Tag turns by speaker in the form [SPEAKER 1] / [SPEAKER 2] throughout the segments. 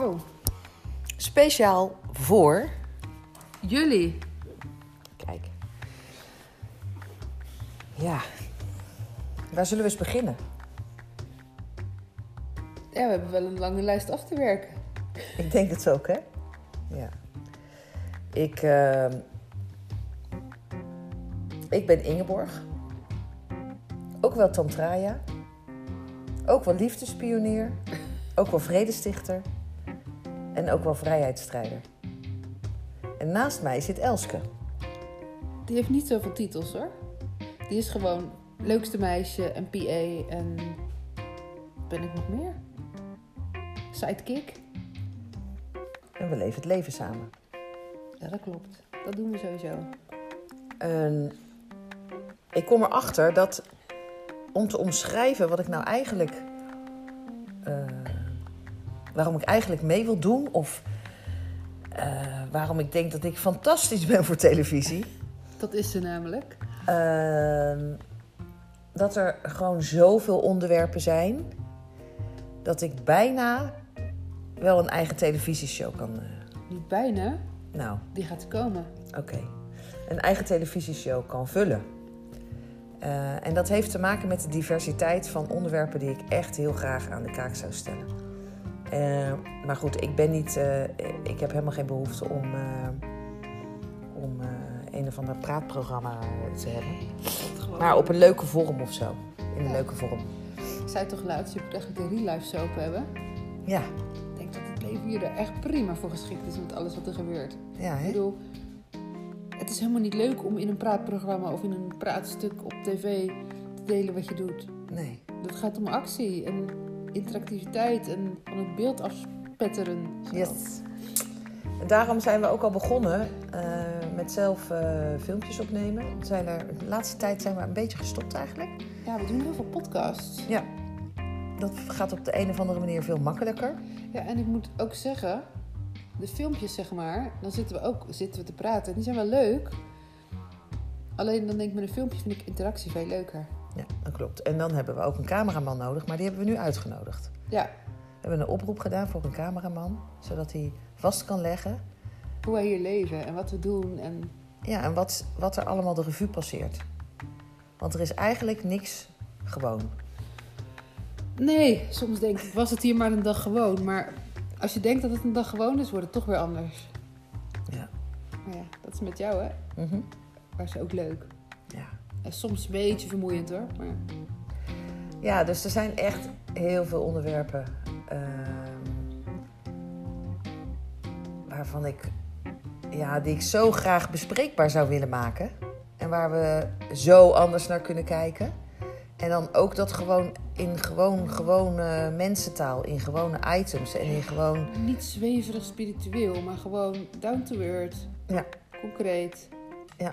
[SPEAKER 1] Oh,
[SPEAKER 2] Speciaal voor.
[SPEAKER 1] jullie.
[SPEAKER 2] Kijk. Ja. Waar zullen we eens beginnen?
[SPEAKER 1] Ja, we hebben wel een lange lijst af te werken.
[SPEAKER 2] Ik denk het ook, hè? Ja. Ik, ehm, ik ben Ingeborg. Ook wel Tantraya. Ook wel liefdespionier. Ook wel vredestichter. En ook wel vrijheidsstrijder. En naast mij zit Elske.
[SPEAKER 1] Die heeft niet zoveel titels hoor. Die is gewoon leukste meisje en PA en. ben ik nog meer? Sidekick?
[SPEAKER 2] En we leven het leven samen.
[SPEAKER 1] Ja, dat klopt. Dat doen we sowieso.
[SPEAKER 2] En Ehm, ik kom erachter dat om te omschrijven wat ik nou eigenlijk. eh, waarom ik eigenlijk mee wil doen of eh, waarom ik denk dat ik fantastisch ben voor televisie.
[SPEAKER 1] Dat is ze namelijk.
[SPEAKER 2] Ehm, dat er gewoon zoveel onderwerpen zijn dat ik bijna wel een eigen televisieshow kan. eh,
[SPEAKER 1] Niet bijna,
[SPEAKER 2] nou,
[SPEAKER 1] die gaat komen.
[SPEAKER 2] Oké. Een eigen televisieshow kan vullen. Eh, en dat heeft te maken met de diversiteit van onderwerpen die ik echt heel graag aan de kaak zou stellen. Eh, maar goed, ik ben niet. eh, ik heb helemaal geen behoefte om. eh, om eh, een of ander praatprogramma te hebben. Maar op een leuke vorm of zo. In een
[SPEAKER 1] Ja.
[SPEAKER 2] leuke vorm.
[SPEAKER 1] Ik zei toch laatst, je moet eigenlijk een real life soap hebben.
[SPEAKER 2] Ja,
[SPEAKER 1] Ik denk dat het leven hier er echt prima voor geschikt is met alles wat er gebeurt.
[SPEAKER 2] ja,
[SPEAKER 1] Ik
[SPEAKER 2] hè?
[SPEAKER 1] bedoel, het is helemaal niet leuk om in een praatprogramma of in een praatstuk op tv te delen wat je doet.
[SPEAKER 2] Nee.
[SPEAKER 1] Het gaat om actie en interactiviteit en van het beeld afspetteren. Zo.
[SPEAKER 2] Yes. En daarom zijn we ook al begonnen eh, met zelf eh, filmpjes opnemen. We Zijn er, de laatste tijd zijn we een beetje gestopt eigenlijk.
[SPEAKER 1] Ja, we doen heel veel podcasts.
[SPEAKER 2] Ja. Dat gaat op de een of andere manier veel makkelijker.
[SPEAKER 1] Ja, en ik moet ook zeggen, de filmpjes zeg maar, dan zitten we ook zitten we te praten. Die zijn wel leuk. Alleen dan denk ik met een filmpje vind ik interactie veel leuker.
[SPEAKER 2] Ja, dat klopt. En dan hebben we ook een cameraman nodig, maar die hebben we nu uitgenodigd.
[SPEAKER 1] Ja,
[SPEAKER 2] We hebben een oproep gedaan voor een cameraman, zodat hij vast kan leggen
[SPEAKER 1] hoe wij hier leven en wat we doen en
[SPEAKER 2] ja, en wat, wat er allemaal de revue passeert. Want er is eigenlijk niks gewoon.
[SPEAKER 1] Nee, soms denk ik, was het hier maar een dag gewoon. Maar als je denkt dat het een dag gewoon is, wordt het toch weer anders.
[SPEAKER 2] Ja.
[SPEAKER 1] Maar ja, dat is met jou, hè?
[SPEAKER 2] Mhm.
[SPEAKER 1] Maar is ook leuk.
[SPEAKER 2] ja.
[SPEAKER 1] En soms een beetje vermoeiend, hoor. Maar
[SPEAKER 2] Ja, dus er zijn echt heel veel onderwerpen ehm, waarvan ik, ja, die ik zo graag bespreekbaar zou willen maken. En waar we zo anders naar kunnen kijken. En dan ook dat gewoon in gewoon, gewone mensentaal, in gewone items en in gewoon...
[SPEAKER 1] niet zweverig spiritueel, maar gewoon down to earth.
[SPEAKER 2] Ja.
[SPEAKER 1] Concreet.
[SPEAKER 2] Ja.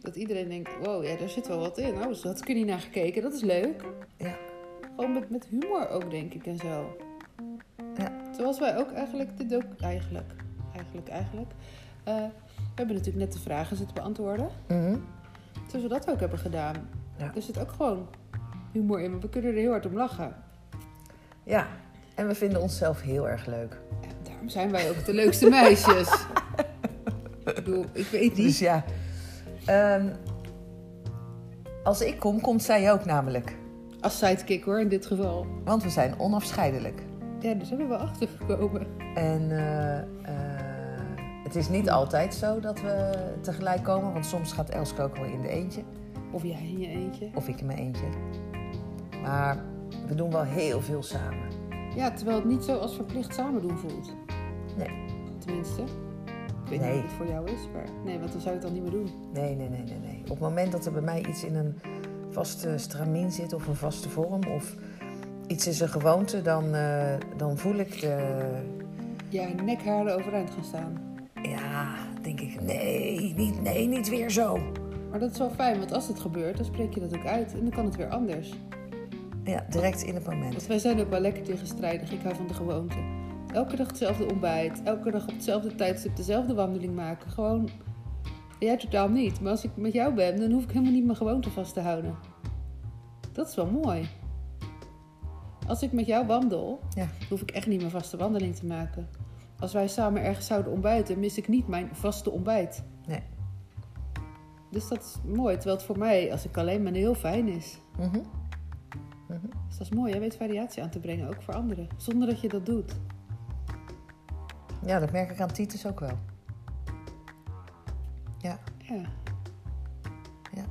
[SPEAKER 1] Dat iedereen denkt, wow, ja, daar zit wel wat in. Oh, dus dat kun je niet naar gekeken. Dat is leuk.
[SPEAKER 2] Ja.
[SPEAKER 1] Gewoon met, met humor ook, denk ik, en zo.
[SPEAKER 2] Ja.
[SPEAKER 1] Zoals wij ook eigenlijk de docu... Eigenlijk, eigenlijk, eigenlijk. Eh, we hebben natuurlijk net de vragen zitten beantwoorden.
[SPEAKER 2] Mhm.
[SPEAKER 1] Zoals we dat ook hebben gedaan.
[SPEAKER 2] Ja.
[SPEAKER 1] Er zit ook gewoon humor in, maar we kunnen er heel hard om lachen.
[SPEAKER 2] ja. En we vinden onszelf heel erg leuk.
[SPEAKER 1] Ja, daarom zijn wij ook de leukste meisjes. ik bedoel, ik weet
[SPEAKER 2] Dus
[SPEAKER 1] niet.
[SPEAKER 2] ja. Ehm, als ik kom, komt zij ook namelijk.
[SPEAKER 1] Als sidekick hoor, in dit geval.
[SPEAKER 2] Want we zijn onafscheidelijk.
[SPEAKER 1] Ja, daar zijn we wel achter gekomen.
[SPEAKER 2] En eh, eh, het is niet altijd zo dat we tegelijk komen. Want soms gaat Elske ook wel in de eentje.
[SPEAKER 1] Of jij in je eentje.
[SPEAKER 2] Of ik in mijn eentje. Maar we doen wel heel veel samen.
[SPEAKER 1] Ja, terwijl het niet zo als verplicht samen doen voelt.
[SPEAKER 2] Nee.
[SPEAKER 1] Tenminste. Ik weet
[SPEAKER 2] Nee.
[SPEAKER 1] niet of het voor jou is, maar... Nee, want dan zou je het al niet meer doen.
[SPEAKER 2] Nee, nee, nee, nee, nee. Op het moment dat er bij mij iets in een vaste stramien zit of een vaste vorm of iets is een gewoonte, dan, eh, dan voel ik eh, de,
[SPEAKER 1] Ja, nekharen overeind gaan staan.
[SPEAKER 2] Ja, denk ik, nee, niet, nee, niet weer zo.
[SPEAKER 1] Maar dat is wel fijn, want als het gebeurt, dan spreek je dat ook uit. En dan kan het weer anders.
[SPEAKER 2] Ja, direct in het moment.
[SPEAKER 1] Want wij zijn ook wel lekker tegenstrijdig. Ik hou van de gewoonte. Elke dag hetzelfde ontbijt. Elke dag op hetzelfde tijdstip dezelfde wandeling maken. Gewoon. Jij totaal niet. Maar als ik met jou ben, dan hoef ik helemaal niet mijn gewoonte vast te houden. Dat is wel mooi. Als ik met jou wandel,
[SPEAKER 2] Ja.
[SPEAKER 1] hoef ik echt niet mijn vaste wandeling te maken. Als wij samen ergens zouden ontbijten, mis ik niet mijn vaste ontbijt.
[SPEAKER 2] Nee.
[SPEAKER 1] Dus dat is mooi. Terwijl het voor mij, als ik alleen ben, heel fijn is.
[SPEAKER 2] Mhm.
[SPEAKER 1] Dus dat is mooi. Jij weet variatie aan te brengen, ook voor anderen. Zonder dat je dat doet.
[SPEAKER 2] Ja, dat merk ik aan Titus ook wel. Ja,
[SPEAKER 1] Ja,
[SPEAKER 2] ja.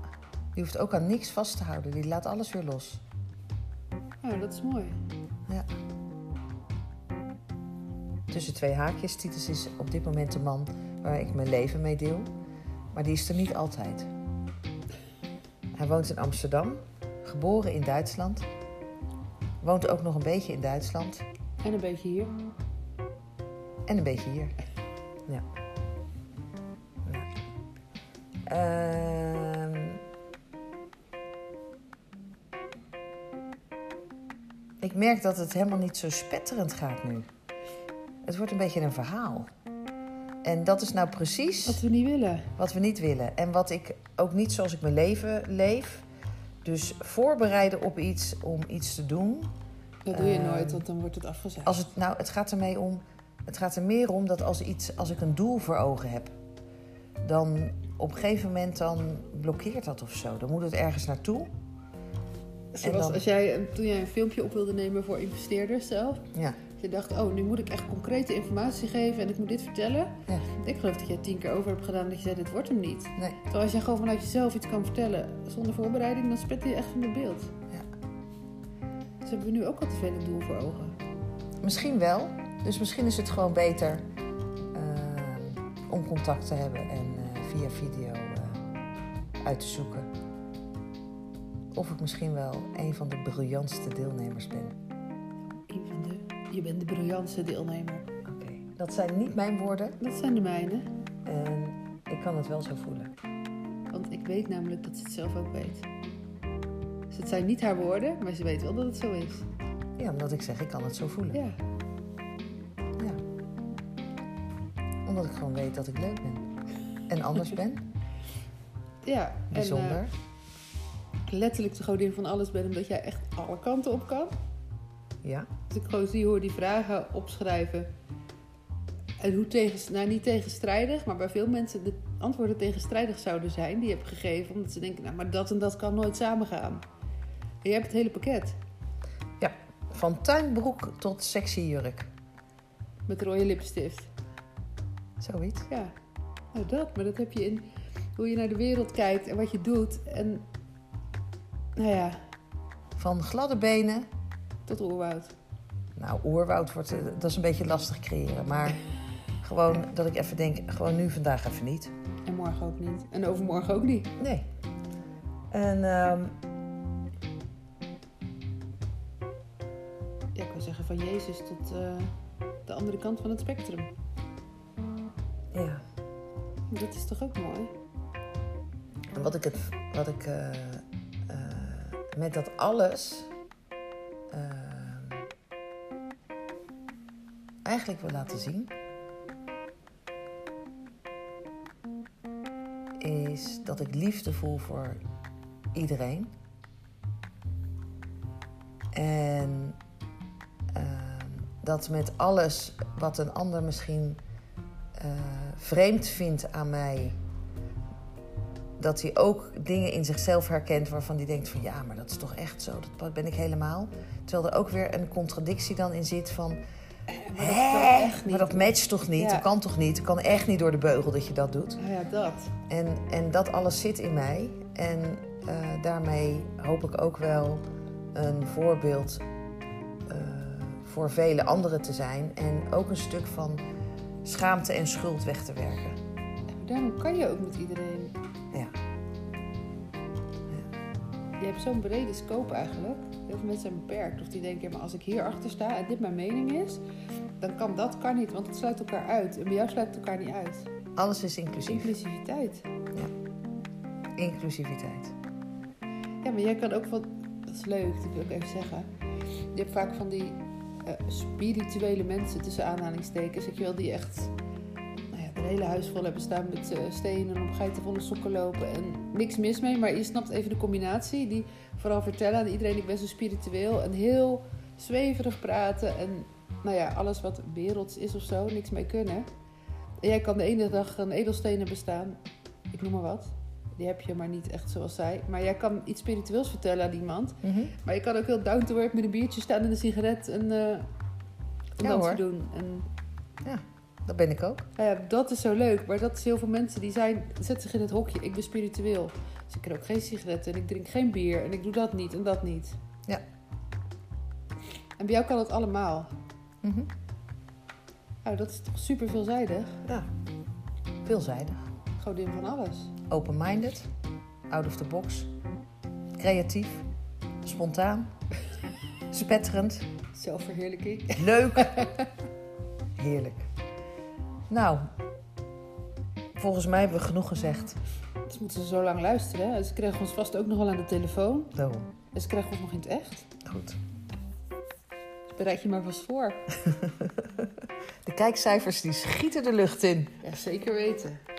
[SPEAKER 2] Die hoeft ook aan niks vast te houden. Die laat alles weer los.
[SPEAKER 1] nou, dat is mooi.
[SPEAKER 2] Ja. Tussen twee haakjes. Titus is op dit moment de man waar ik mijn leven mee deel. Maar die is er niet altijd. Hij woont in Amsterdam, geboren in Duitsland. Woont ook nog een beetje in Duitsland
[SPEAKER 1] En een beetje hier.
[SPEAKER 2] en een beetje hier. Ja. ja. Ehm. ik merk dat het helemaal niet zo spetterend gaat nu. Het wordt een beetje een verhaal. En dat is nou precies
[SPEAKER 1] Wat we niet willen.
[SPEAKER 2] wat we niet willen. En wat ik ook niet zoals ik mijn leven leef. Dus voorbereiden op iets om iets te doen.
[SPEAKER 1] Dat doe je
[SPEAKER 2] Ehm,
[SPEAKER 1] nooit, want dan wordt het afgezegd.
[SPEAKER 2] Als het, nou, het gaat er mee om. Het gaat er meer om dat als, iets, als ik een doel voor ogen heb, dan op een gegeven moment dan blokkeert dat of zo. Dan moet het ergens naartoe.
[SPEAKER 1] Zoals
[SPEAKER 2] dan-
[SPEAKER 1] als jij, toen jij een filmpje op wilde nemen voor investeerders zelf.
[SPEAKER 2] Ja,
[SPEAKER 1] Je dacht, oh, nu moet ik echt concrete informatie geven en ik moet dit vertellen.
[SPEAKER 2] ja
[SPEAKER 1] Ik geloof dat jij tien keer over hebt gedaan dat je zei, dit wordt hem niet.
[SPEAKER 2] nee.
[SPEAKER 1] Terwijl als jij gewoon vanuit jezelf iets kan vertellen zonder voorbereiding, dan spet je echt van het beeld.
[SPEAKER 2] Ja.
[SPEAKER 1] Dus hebben we nu ook al te veel een doel voor ogen.
[SPEAKER 2] Misschien wel. Dus misschien is het gewoon beter eh, om contact te hebben en eh, via video eh, uit te zoeken. Of ik misschien wel een van de briljantste deelnemers ben.
[SPEAKER 1] Een van de, je bent de briljantste deelnemer.
[SPEAKER 2] Oké. Dat zijn niet mijn woorden.
[SPEAKER 1] Dat zijn de mijne,
[SPEAKER 2] En ik kan het wel zo voelen.
[SPEAKER 1] want ik weet namelijk dat ze het zelf ook weet. Dus het zijn niet haar woorden, maar ze weet wel dat het zo is.
[SPEAKER 2] Ja, omdat ik zeg, ik kan het zo voelen.
[SPEAKER 1] Ja,
[SPEAKER 2] Ja. Omdat ik gewoon weet dat ik leuk ben. En anders ben.
[SPEAKER 1] ja. En, eh,
[SPEAKER 2] Bijzonder.
[SPEAKER 1] letterlijk de godin van alles bent, omdat jij echt alle kanten op kan.
[SPEAKER 2] Ja.
[SPEAKER 1] Als ik gewoon zie hoe die vragen opschrijven. En hoe tegen, nou niet tegenstrijdig, maar bij veel mensen de antwoorden tegenstrijdig zouden zijn die je hebt gegeven. Omdat ze denken, nou maar dat en dat kan nooit samengaan. En je hebt het hele pakket.
[SPEAKER 2] Ja. Van tuinbroek tot sexy jurk.
[SPEAKER 1] Met rode lipstift.
[SPEAKER 2] Zoiets.
[SPEAKER 1] Ja, nou dat. Maar dat heb je in hoe je naar de wereld kijkt en wat je doet. En nou ja,
[SPEAKER 2] Van gladde benen.
[SPEAKER 1] tot oerwoud.
[SPEAKER 2] Nou, oerwoud wordt, eh, dat is een beetje lastig creëren. Maar gewoon dat ik even denk, gewoon nu vandaag even niet.
[SPEAKER 1] En morgen ook niet. En overmorgen ook niet.
[SPEAKER 2] Nee. En ehm,
[SPEAKER 1] Ja, ik wil zeggen van Jezus tot eh, de andere kant van het spectrum.
[SPEAKER 2] ja.
[SPEAKER 1] Dat is toch ook mooi?
[SPEAKER 2] Wat ik, het, wat ik eh, eh, met dat alles eh, eigenlijk wil laten zien, is dat ik liefde voel voor iedereen. En eh, dat met alles wat een ander misschien eh, vreemd vindt aan mij dat hij ook dingen in zichzelf herkent waarvan hij denkt van ja, maar dat is toch echt zo, dat ben ik helemaal. Terwijl er ook weer een contradictie dan in zit van
[SPEAKER 1] Maar dat
[SPEAKER 2] Hè?
[SPEAKER 1] kan echt niet.
[SPEAKER 2] maar dat matcht toch niet,
[SPEAKER 1] Ja.
[SPEAKER 2] dat kan toch niet, dat kan echt niet door de beugel dat je dat doet.
[SPEAKER 1] Ah ja, dat.
[SPEAKER 2] En, en dat alles zit in mij en eh, daarmee hoop ik ook wel een voorbeeld eh, voor vele anderen te zijn en ook een stuk van schaamte en schuld weg te werken.
[SPEAKER 1] Daarom kan je ook met iedereen.
[SPEAKER 2] Ja.
[SPEAKER 1] Je hebt zo'n brede scope eigenlijk. Heel veel mensen zijn beperkt. Of die denken, ja, maar als ik hier achter sta en dit mijn mening is, dan kan dat, kan niet. Want het sluit elkaar uit. En bij jou sluit het elkaar niet uit.
[SPEAKER 2] Alles is
[SPEAKER 1] Mhm.
[SPEAKER 2] inclusief.
[SPEAKER 1] Inclusiviteit.
[SPEAKER 2] Inclusiviteit.
[SPEAKER 1] Ja, maar jij kan ook wat. Dat is leuk, dat wil ik even zeggen. Je hebt vaak van die eh, spirituele mensen tussen aanhalingstekens. Ik wil die echt nou ja, het hele huis vol hebben staan met eh, stenen en op geitenvolle sokken lopen. En niks mis mee, maar je snapt even de combinatie. Die vooral vertellen aan iedereen: ik ben zo spiritueel en heel zweverig praten en nou ja, alles wat werelds is of zo, niks mee kunnen. En jij kan de ene dag een edelstenen bestaan, ik noem maar wat. Die heb je maar niet echt zoals zij. Maar jij kan iets spiritueels vertellen aan iemand.
[SPEAKER 2] Mhm.
[SPEAKER 1] Maar je kan ook heel down to earth met een biertje staan en een sigaret en eh een
[SPEAKER 2] Ja,
[SPEAKER 1] dansje
[SPEAKER 2] hoor.
[SPEAKER 1] doen. En
[SPEAKER 2] Dat ben ik ook.
[SPEAKER 1] nou ja, dat is zo leuk. Maar dat is heel veel mensen die zijn, zetten zich in het hokje. Ik ben spiritueel. Dus ik rook geen sigaretten en ik drink geen bier en ik doe dat niet en dat niet.
[SPEAKER 2] Ja.
[SPEAKER 1] En bij jou kan dat allemaal.
[SPEAKER 2] Mhm.
[SPEAKER 1] Nou, dat is toch super veelzijdig?
[SPEAKER 2] Ja. Veelzijdig.
[SPEAKER 1] Godin van alles.
[SPEAKER 2] Open-minded. Out of the box. Creatief. Spontaan. Spetterend.
[SPEAKER 1] Zelfverheerlijking.
[SPEAKER 2] Leuk. Heerlijk. Nou, volgens mij hebben we genoeg gezegd.
[SPEAKER 1] Dus moeten ze zo lang luisteren. hè? Ze kregen ons vast ook nog wel aan de telefoon.
[SPEAKER 2] Daarom.
[SPEAKER 1] En ze kregen ons nog in het echt.
[SPEAKER 2] Goed.
[SPEAKER 1] Dus bereid je maar vast voor.
[SPEAKER 2] De kijkcijfers die schieten de lucht in.
[SPEAKER 1] Ja, zeker weten.